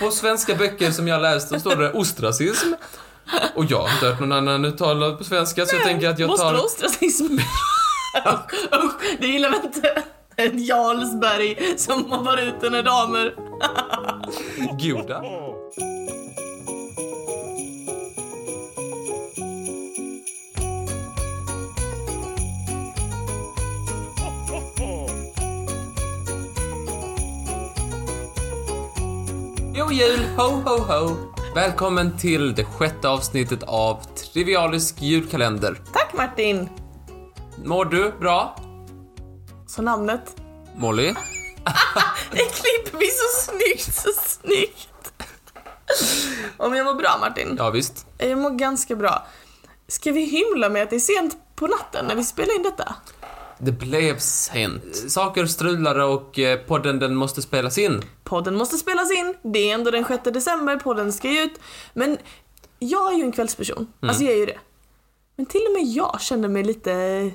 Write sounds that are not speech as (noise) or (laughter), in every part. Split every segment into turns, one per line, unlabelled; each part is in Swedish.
På svenska böcker som jag läste står det ostracism. Och jag har inte hört någon annan uttala på svenska så jag tänker att jag
Måste vara
tar...
ostracism.
(laughs)
Usch, usch, det gillar väl inte en Jarlsberg som mobbar ut en damer.
Goda. Jo jul, ho ho ho! Välkommen till det sjätte avsnittet av Trivialisk julkalender.
Tack Martin.
Mår du bra?
Så namnet.
Molly?
Det klipper vi så snyggt, så snyggt. Om jag mår bra Martin?
Ja, visst.
Jag mår ganska bra. Ska vi hymla med att det är sent på natten när vi spelar in detta?
Det blev sent. Eh, Saker strulade och eh, podden den måste spelas in.
Podden måste spelas in, det är ändå den 6 december, podden ska ju ut. Men jag är ju en kvällsperson,
Mm.
alltså jag är ju det. Men till och med jag känner mig lite,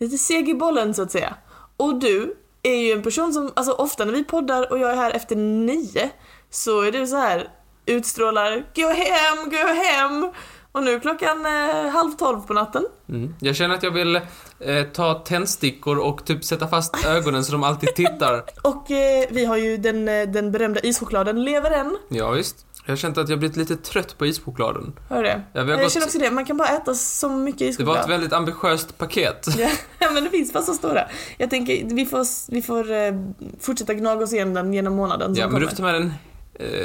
lite seg i bollen så att säga. Och du är ju en person som, alltså ofta när vi poddar och jag är här efter nio så är du så här utstrålar gå hem, gå hem. Och nu är klockan eh, halv tolv på natten.
Mm. Jag känner att jag vill eh, ta tändstickor och typ sätta fast ögonen så de alltid tittar.
Och eh, vi har ju den, eh, den berömda ischokladen lever än.
(laughs) Ja, visst. Jag har känt att jag blivit lite trött på ischokladen.
Hör du det?
Ja, vi har
Jag, jag
gått-
känner också det, man kan bara äta så mycket
Det
ischoklad.
var ett väldigt ambitiöst paket.
Ja men det finns bara så stora. Jag tänker vi får, vi får eh, fortsätta gnaga oss igenom den genom månaden som
Ja, men du
kommer.
får ta med den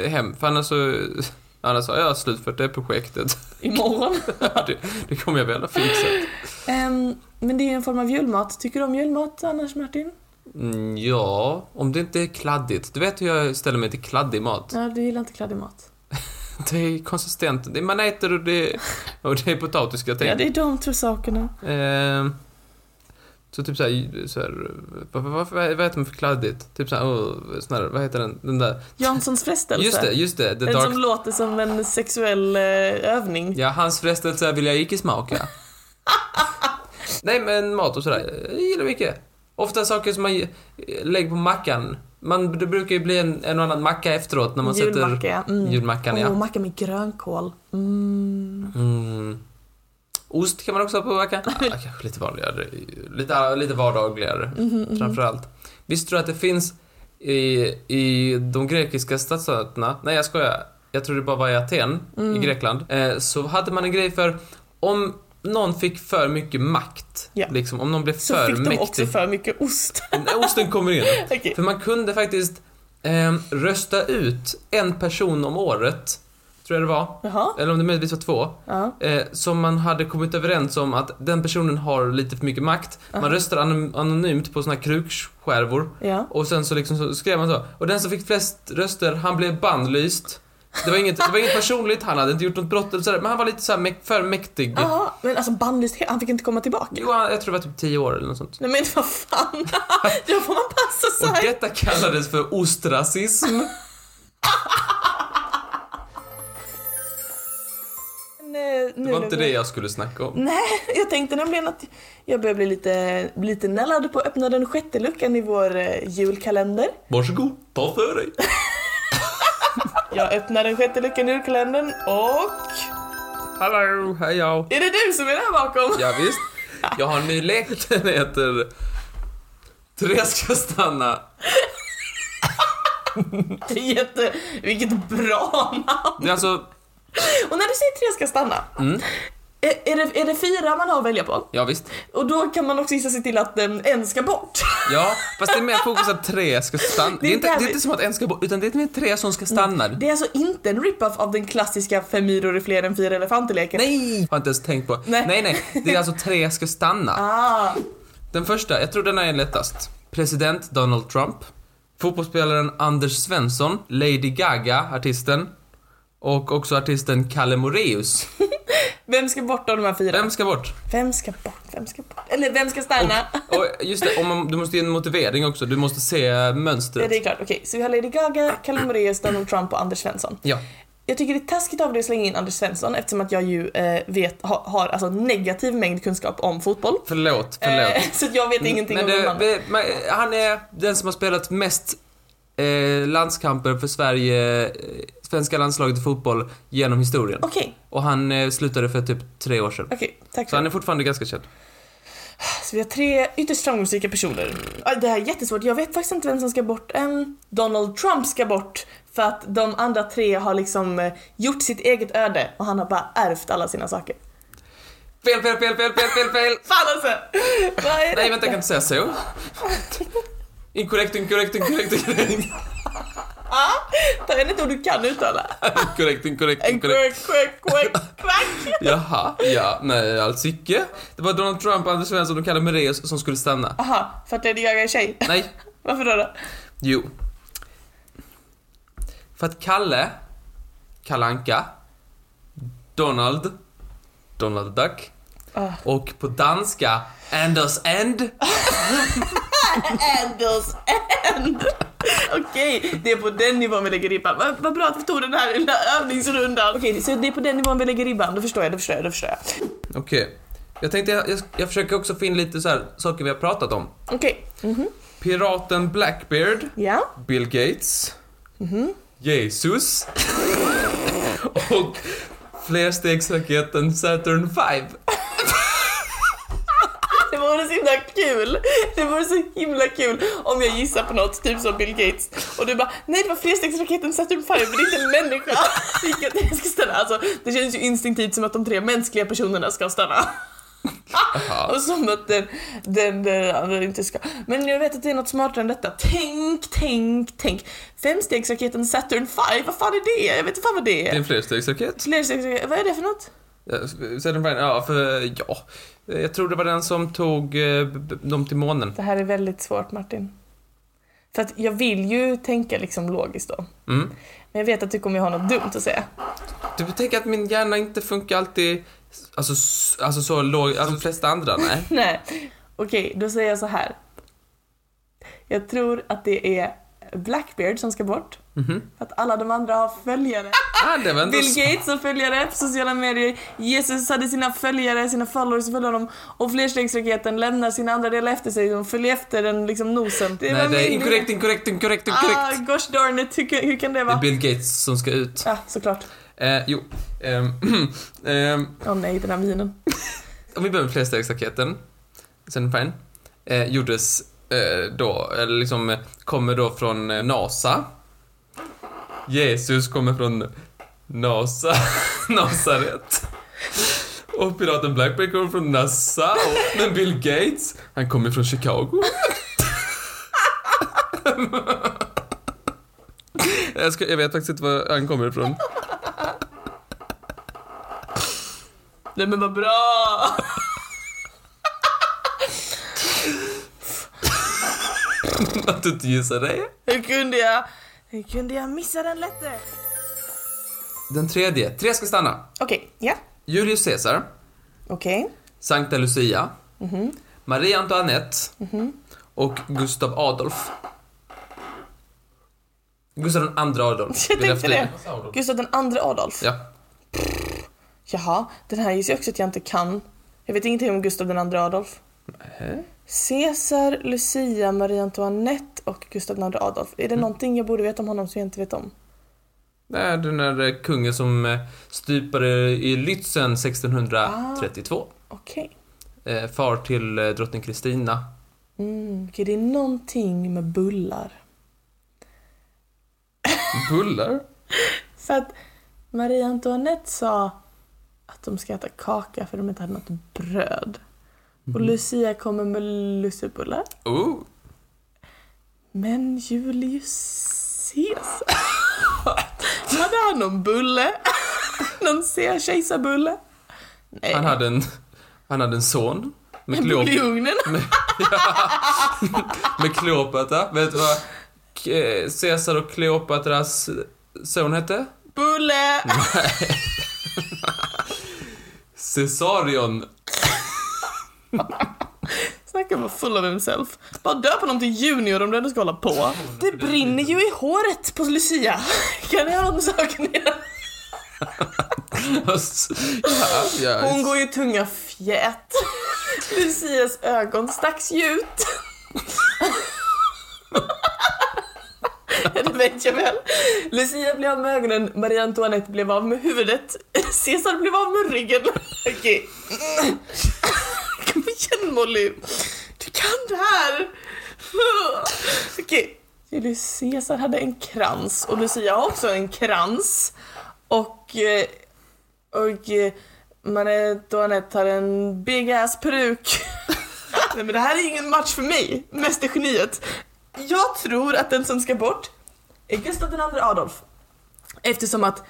eh, hem, för annars så... (laughs) Annars har jag slutfört det projektet. (laughs)
Imorgon.
det, det kommer jag väl att fixa.
Ehm, men det är ju en form av julmat. Tycker du om julmat annars Martin?
Mm, ja, om det inte är kladdigt. Du vet hur jag ställer mig till kladdig mat.
Ja, du gillar inte kladdig mat.
Det är konsistent. Det är maneter och det, och det är potatis jag
Ja,
tänker.
det är de två sakerna.
Ehm, så typ såhär, så här, vad, vad, vad, vad heter man för kladdigt? Typ såhär, oh, sån här, vad heter den, den där?
Janssons frestelse.
Just det, just det, the
en
dark...
som låter som en sexuell eh, övning.
Ja, hans frestelse vill jag icke
(laughs)
smaka. Nej men mat och sådär, jag gillar mycket. Ofta saker som man eh, lägger på mackan. Man, det brukar ju bli en, en och annan macka efteråt när man
Julmacka,
sätter
ja. Mm.
julmackan.
Åh,
Ja.
macka med grönkål. Mm.
Mm. Ost kan man också ha på mackan. (laughs) Ah, kanske lite vanligare, lite, lite vardagligare framförallt. Visst tror jag att det finns i, i de grekiska stadsöarna, nej jag skojar, jag tror det bara var i Aten
mm.
i Grekland, eh, så hade man en grej för om någon fick för mycket makt,
Ja.
liksom om någon blev
Så
för
fick de
mäktig.
också för mycket ost. (laughs)
Nej, Osten kommer (laughs) in.
Okej.
För man kunde faktiskt eh, rösta ut en person om året, tror jag det var,
Jaha.
eller om det möjligtvis var två,
Ja.
eh, som man hade kommit överens om att den personen har lite för mycket makt. Man röstar anon- anonymt på såna här krukskärvor.
Ja.
Och sen så, liksom så skrev man så. Och den som fick flest röster, han blev bannlyst. Det var inget, det var inget personligt, han hade inte gjort något brott eller sådär, men han var lite såhär mäk- för mäktig.
Jaha, men alltså bannlyst, han fick inte komma tillbaka.
Jo, han- jag tror det var typ 10 år eller något sånt.
Nej men vad fan, (laughs) då får man passa
Och
sig.
detta kallades för ostrasism.
Nej, eh, nu
Det var inte
lugnar
det
jag.
jag skulle snacka om.
Nej, jag tänkte nämligen att jag börjar bli lite, bli lite nällad på att öppna den sjätte luckan i vår eh, julkalender.
Varsågod, ta för dig.
Jag öppnar den sjätte luckan i julkalendern och...
Hallå, hej jag.
Är det du som är där bakom?
Ja, visst. Jag har en ny lek, den heter Therese ska stanna.
Det är (laughs) Jätte... Vilket bra namn!
Det är alltså,
Och när du säger tre ska stanna,
Mm.
är, är, det, är det fyra man har att välja på?
ja visst.
Och då kan man också gissa sig till att um, en
(laughs)
ska bort.
Ja, fast det är mer fokus att tre ska stanna. Det är, inte,
där
det är
vi-
inte som att en ska bort, utan det är mer tre som ska stanna.
Det är alltså inte en rip-off av den klassiska fem myror är fler än fyra elefanter-leken.
Nej! Har inte ens tänkt på.
Nej.
Nej, nej. Det är alltså tre ska stanna.
Ah,
Den första, jag tror den här är lättast. President Donald Trump. Fotbollsspelaren Anders Svensson. Lady Gaga, artisten. Och också artisten Kalle Moreus.
vem ska bort av de här fyra?
Vem ska bort?
Vem ska bort? Vem ska bort? Eller vem ska stanna?
Och just det, om man, du måste ge en motivering också. Du måste se
Ja,
mönstret.
det är klart. Okej, så vi har Lady Gaga, Kalle Moraeus, Donald Trump och Anders Svensson.
Ja.
Jag tycker det är taskigt av dig att slänga in Anders Svensson eftersom att jag ju eh, vet, ha, har alltså negativ mängd kunskap om fotboll.
Förlåt, förlåt.
Eh, så att jag vet Eh, ingenting
Men
om det,
det,
mannen.
det, man- han är den som har spelat mest eh, landskamper för Sverige, eh, svenska landslaget i fotboll genom historien.
Okej,
Och han eh, slutade för typ tre år sedan.
okej. Tack
Så
för
han är
det.
fortfarande ganska känd.
Så vi har tre ytterst framgångsrika personer. Ah, Det här är jättesvårt. Jag vet faktiskt inte vem som ska bort än. Donald Trump ska bort. För att de andra tre har liksom eh, gjort sitt eget öde och han har bara ärvt alla sina saker.
Fel, fel, fel, fel, fel, fel, fel!
Fan alltså! Vad är
Nej, vänta,
det?
jag kan inte säga så. Inkorrekt, inkorrekt, inkorrekt, inkorrekt,
Ta en ett ord du kan uttala.
inkorrekt, inkorrekt,
En
inkorrekt.
quack, quack, quack, quack.
Jaha, ja, nej, alls icke. Det var Donald Trump, Anders Svensson och Kalle Moraeus som skulle stanna.
Aha, för att Lady Gaga är tjej.
Nej,
Varför då? då?
jo. För att Kalle, Kalanka, Donald, Donald Duck
Ah.
och på danska Anders End.
Anders end! Okej, det är på den nivån vi lägger ribban. Vad vad bra att vi tog den här lilla övningsrundan. Okej, så det är på den nivån vi lägger ribban. Då förstår jag, då förstår jag, då förstår jag.
Okej. Jag tänkte, jag, jag, jag försöker också få in lite så här saker vi har pratat om.
Okej. Mhm.
Piraten Blackbeard,
Ja.
Bill Gates, Jesus (laughs) och flerstegsraketen Saturn V.
Det vore så himla kul. Det vore så himla kul om jag gissar på något, typ som Bill Gates. Och du bara, nej det var flerstegsraketen Saturn V, men det är inte en människa. Vilket jag ska stanna. Alltså, det känns ju instinktivt som att de tre mänskliga personerna ska stanna.
Jaha.
Och som att den, den, den andra inte ska. Men jag vet att det är något smartare än detta. Tänk, tänk, tänk. Femstegsraketen Saturn V, vad fan är det? Jag vet inte fan vad det
Det är
är.
en flerstegsraket.
Flerstegsraketen, vad är det för något?
Ja, Saturn V, ja, för ja. Eh, Jag tror det var den som tog eh, b- b- dem till månen.
Det här är väldigt svårt Martin. För att jag vill ju tänka liksom logiskt då.
Mm.
Men jag vet att du kommer ju ha något dumt att säga. (laughs)
Du Typ, tänker att min hjärna inte funkar alltid, alltså, s- alltså så låg, alltså de flesta andra,
(laughs)
nej.
Nej. Okej, då säger jag så här. Jag tror att det är Blackbeard som ska bort.
Mhm.
För att alla de andra har följare.
Ah, det var ändå
Bill Gates har följare på sociala medier. Jesus hade sina följare, sina followers följde honom. Och flerstegsraketen lämnar sina andra delar efter sig. De följer efter den liksom nosen. Det
Nej,
var
det är
min-
inkorrekt, inkorrekt, inkorrekt, inkorrekt.
Ah, gosh darn it. Hur, kan- hur kan det
Det är
vara?
Bill Gates som ska ut.
Ja, såklart.
Eh, jo. Ehm, (clears throat) ehm,
Åh nej, den här minen.
om vi börjar med flerstegsraketen, sen fine, eh, gjordes eh, då, eller liksom eh, kommer då från eh, NASA. Jesus kommer från NASA, (laughs) Nasaret. Och piraten Blackbeard kommer från NASA, och, men Bill Gates, han kommer från Chicago. (laughs) jag, ska, jag vet faktiskt inte var han kommer ifrån.
Nej men vad bra!
(laughs) Att du inte gissar det.
Hur kunde jag? Hur kunde jag missa den lätte?
Den tredje, tre ska stanna.
Okej, ja.
Julius Caesar,
Okej.
Sankta Lucia,
Mhm.
Marie Antoinette och Gustav Adolf. Gustav den andra Adolf.
(laughs) Jag
blir
tänkte det.
efter dig.
Gustav den andra Adolf.
Ja.
Jaha, den här gissar jag också att jag inte kan. Jag vet ingenting om Gustav den andra Adolf.
Eh,
Caesar, Lucia, Marie Antoinette och Gustav den andra Adolf. Är det någonting jag borde veta om honom som jag inte vet om?
Nej, den där eh, kungen som eh, stupade i Lützen 1632.
Okej. Ah.
Eh, Far till eh, drottning Kristina.
Mm, okej, det är någonting med bullar.
Bullar?
För att Marie Antoinette sa att de ska äta kaka för de inte hade något bröd. Och Lucia kommer med lussebullar.
Oh.
Men Julius Caesar. hade han någon bulle? någon se- kejsarbulle? Nej.
Han hade en, han hade en son. Med
en
Kleop-
bulle i ugnen.
Med Kleopatra. Vet du vad K- eh, Caesar och Kleopatras son hette?
Bulle!
Caesarion.
Snacka om att full of himself. Bara döp honom till Junior om du ändå ska hålla på. Det brinner ju i håret på Lucia. kan jag göra något med saken innan?
ja, ja.
Hon går ju tunga fjät. Lucias ögon stack ju ut. Benjamin. Lucia blev av med ögonen, Marie Antoinette blev av med huvudet, Caesar blev av med ryggen. Okej. Kom igen Molly! Du kan det här! Okej. Julius Caesar hade en krans och Lucia har också en krans. Och... eh, Och... eh, Marie Antoinette har en big
(laughs)
ass peruk. Nej men det här är ingen match för mig, mästergeniet. Jag tror att den som ska bort är Gustav II Adolf. Eftersom att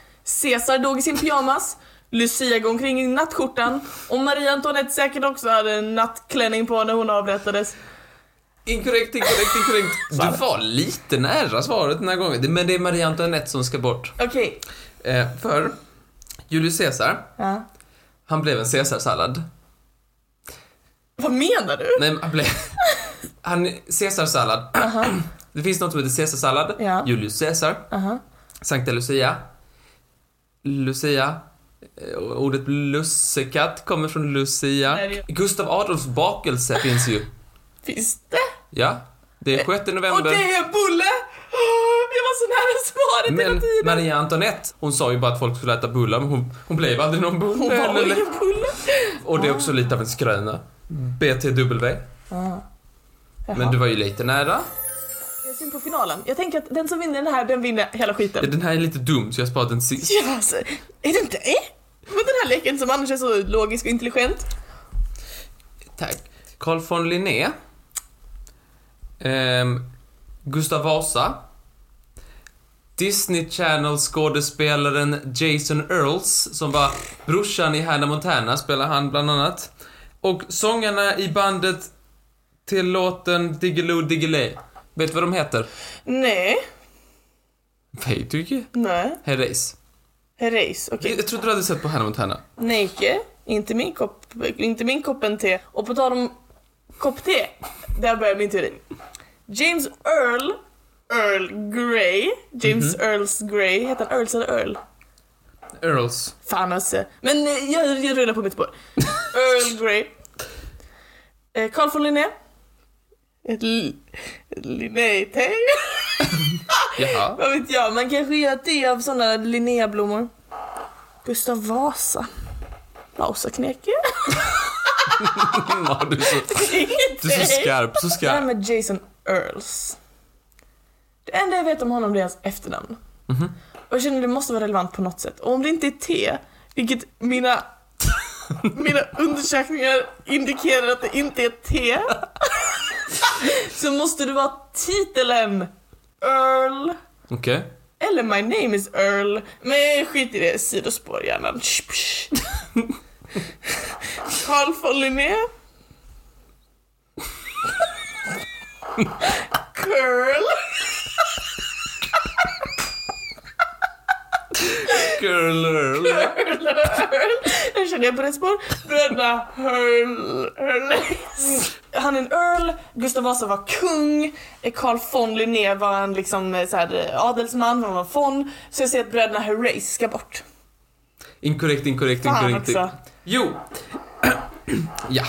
Caesar dog i sin pyjamas, Lucia går omkring i nattskjortan och Marie Antoinette säkert också hade en nattklänning på när hon avrättades.
Inkorrekt, inkorrekt, inkorrekt. Du var lite nära svaret den här gången. Det- Men det är Marie Antoinette som ska bort.
Okej.
Eh, för Julius Caesar,
Ja.
han blev en caesarsallad.
Vad menar du?
Nej, men han blev... Han, caesarsallad. Det finns något som heter caesarsallad.
Ja.
Julius Caesar,
Aha.
Sankta Lucia. Lucia. Eh, Ordet lussekatt kommer från Lucia.
Nej, det-
Gustav Adolfs bakelse finns ju.
Finns det?
Ja, det är 6
Och
november.
det är bulle! Åh, Jag var så nära svaret hela
Men
tiden.
Maria Antoinette, hon sa ju bara att folk skulle äta bullar, men hon, hon blev aldrig någon bulle.
Hon var
eller-
ingen bulle.
och det är också lite av en skröna. BTW. Men du var ju lite nära.
Jag syn på finalen. Jag tänker att den som vinner den här, den vinner hela skiten.
Den här är lite dum, så jag sparade den sist.
Ja, alltså, är det inte det? Men den här leken som annars är så logisk och intelligent.
Tack. Carl von Linné. Ehm, Gustav Vasa. Disney Channel-skådespelaren Jason Earls, som var brorsan i Hannah Montana, spelar han bland annat. Och sångarna i bandet till låten Diggiloo Diggiley. Vet du vad de heter?
Nej,
Vet du inte?
nej.
Herreys.
Race, okej.
Jag trodde du hade sett på Hannah Montana.
Nej, icke. inte min kopp, inte min koppen te. Och på tal om kopp te, där börjar min teori. James Earl, Earl Grey, James
Mhm.
Earls Grey, heter han Earls eller Earl?
Earls.
Fan alltså. Men eh, jag, jag rullar på mitt (laughs) spår. Earl Grey. Eh, Carl von Linné. Ett l- ett Linné-te.
(laughs) Jaha.
(laughs) Vad vet jag, man kanske gör te av sådana Linnéblommor. Gustav Vasa. Vasaknäcke. (laughs)
Ja, du, är så,
Inget
du är så
te.
skarp, så
Det här
skarp.
med Jason Earls. Det enda jag vet om honom det är hans efternamn. Och jag känner det måste vara relevant på något sätt. Och om det inte är T, vilket mina, mina undersökningar indikerar att det inte är T, så måste det vara titeln Earl.
Okej.
Eller My name is Earl. Men skit i det, sidospår hjärnan. Tsch, psch. Carl von Linné. Curl.
Girl Earl.
Curl Earl. Nu känner jag på rätt spår. Bröderna Hurl. Hurleys. Han är en Earl, Gustav Vasa var kung, Carl von Linné var en liksom eh, så här, eh, adelsman, han var von. Så jag säger att bröderna Hurrace ska bort.
Inkorrekt, inkorrekt,
Fan
inkorrekt.
också.
Jo! (clears throat) ja.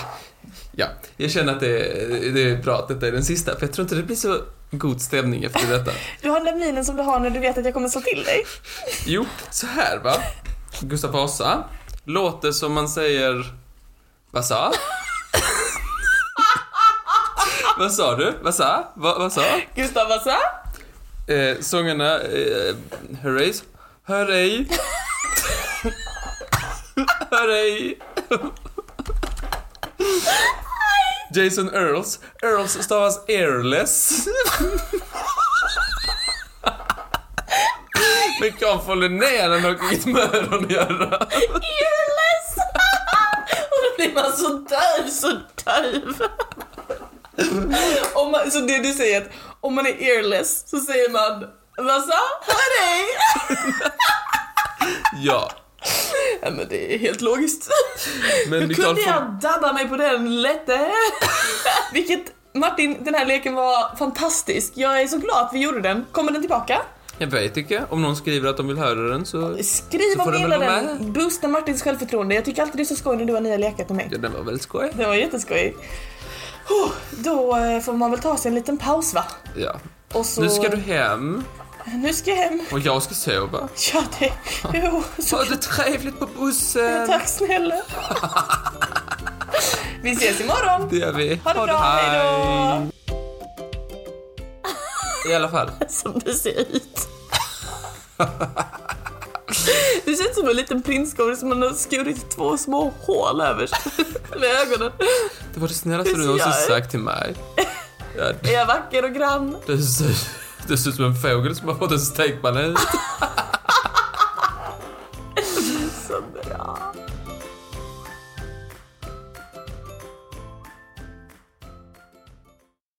Ja, jag känner att det är, det är bra att detta är den sista, för jag tror inte det blir så god stämning efter
(laughs)
detta.
Du har den där minen som du har när du vet att jag kommer slå till dig.
Jo, så här va. Gustav Vasa låter som man säger... Vad sa?
(laughs)
vad sa du? Vad sa? Vad, vad sa?
Gustav Vasa?
Eh, sångarna... Eh, Hurrays. (laughs) Hurray. Hurray. Jason Earls. Earls stavas airless. (laughs) Men kan få Linnea den har inget med öron att göra.
Earless! (laughs) Och då blir man så döv, så döv. om man, så det du säger är att om man är earless så säger man (laughs) Vasa? Hörrej!
Ja.
Ja men det är helt logiskt.
Men
Hur
vi kan
kunde
få...
jag dabba mig på
(laughs)
den lätte? Vilket Martin, den här leken var fantastisk. Jag är så glad att vi gjorde den. Kommer den tillbaka?
Jag vet inte. Om någon skriver att de vill höra den så...
Skriv
Så får
om
den
hela
väl vara
den. Boosta Martins självförtroende. Jag tycker alltid det är så skoj när du har nya lekar till mig.
Ja, den var väldigt skoj.
Det var jätteskoj. Oh, då eh, får man väl ta sig en liten paus va?
Ja.
Och så...
Nu ska du hem.
Nu ska jag hem.
Och jag ska sova.
Ja, det... Jo,
Ha
(laughs) så...
det trevligt på bussen!
Tack snälla. Vi ses imorgon.
Det gör vi.
Ha det bra, hej
då! I alla fall.
(laughs) Som du ser (laughs) ut. Du ser ut som en liten prinskorv som man har skurit två små hål överst (laughs) med ögonen.
Det var det snällaste du
Visst
någonsin
gör jag.
sagt till mig. Ja,
Är jag vacker och grann?
du, ser- du ser ut som en fågel som har fått en stekbanan.
Så bra.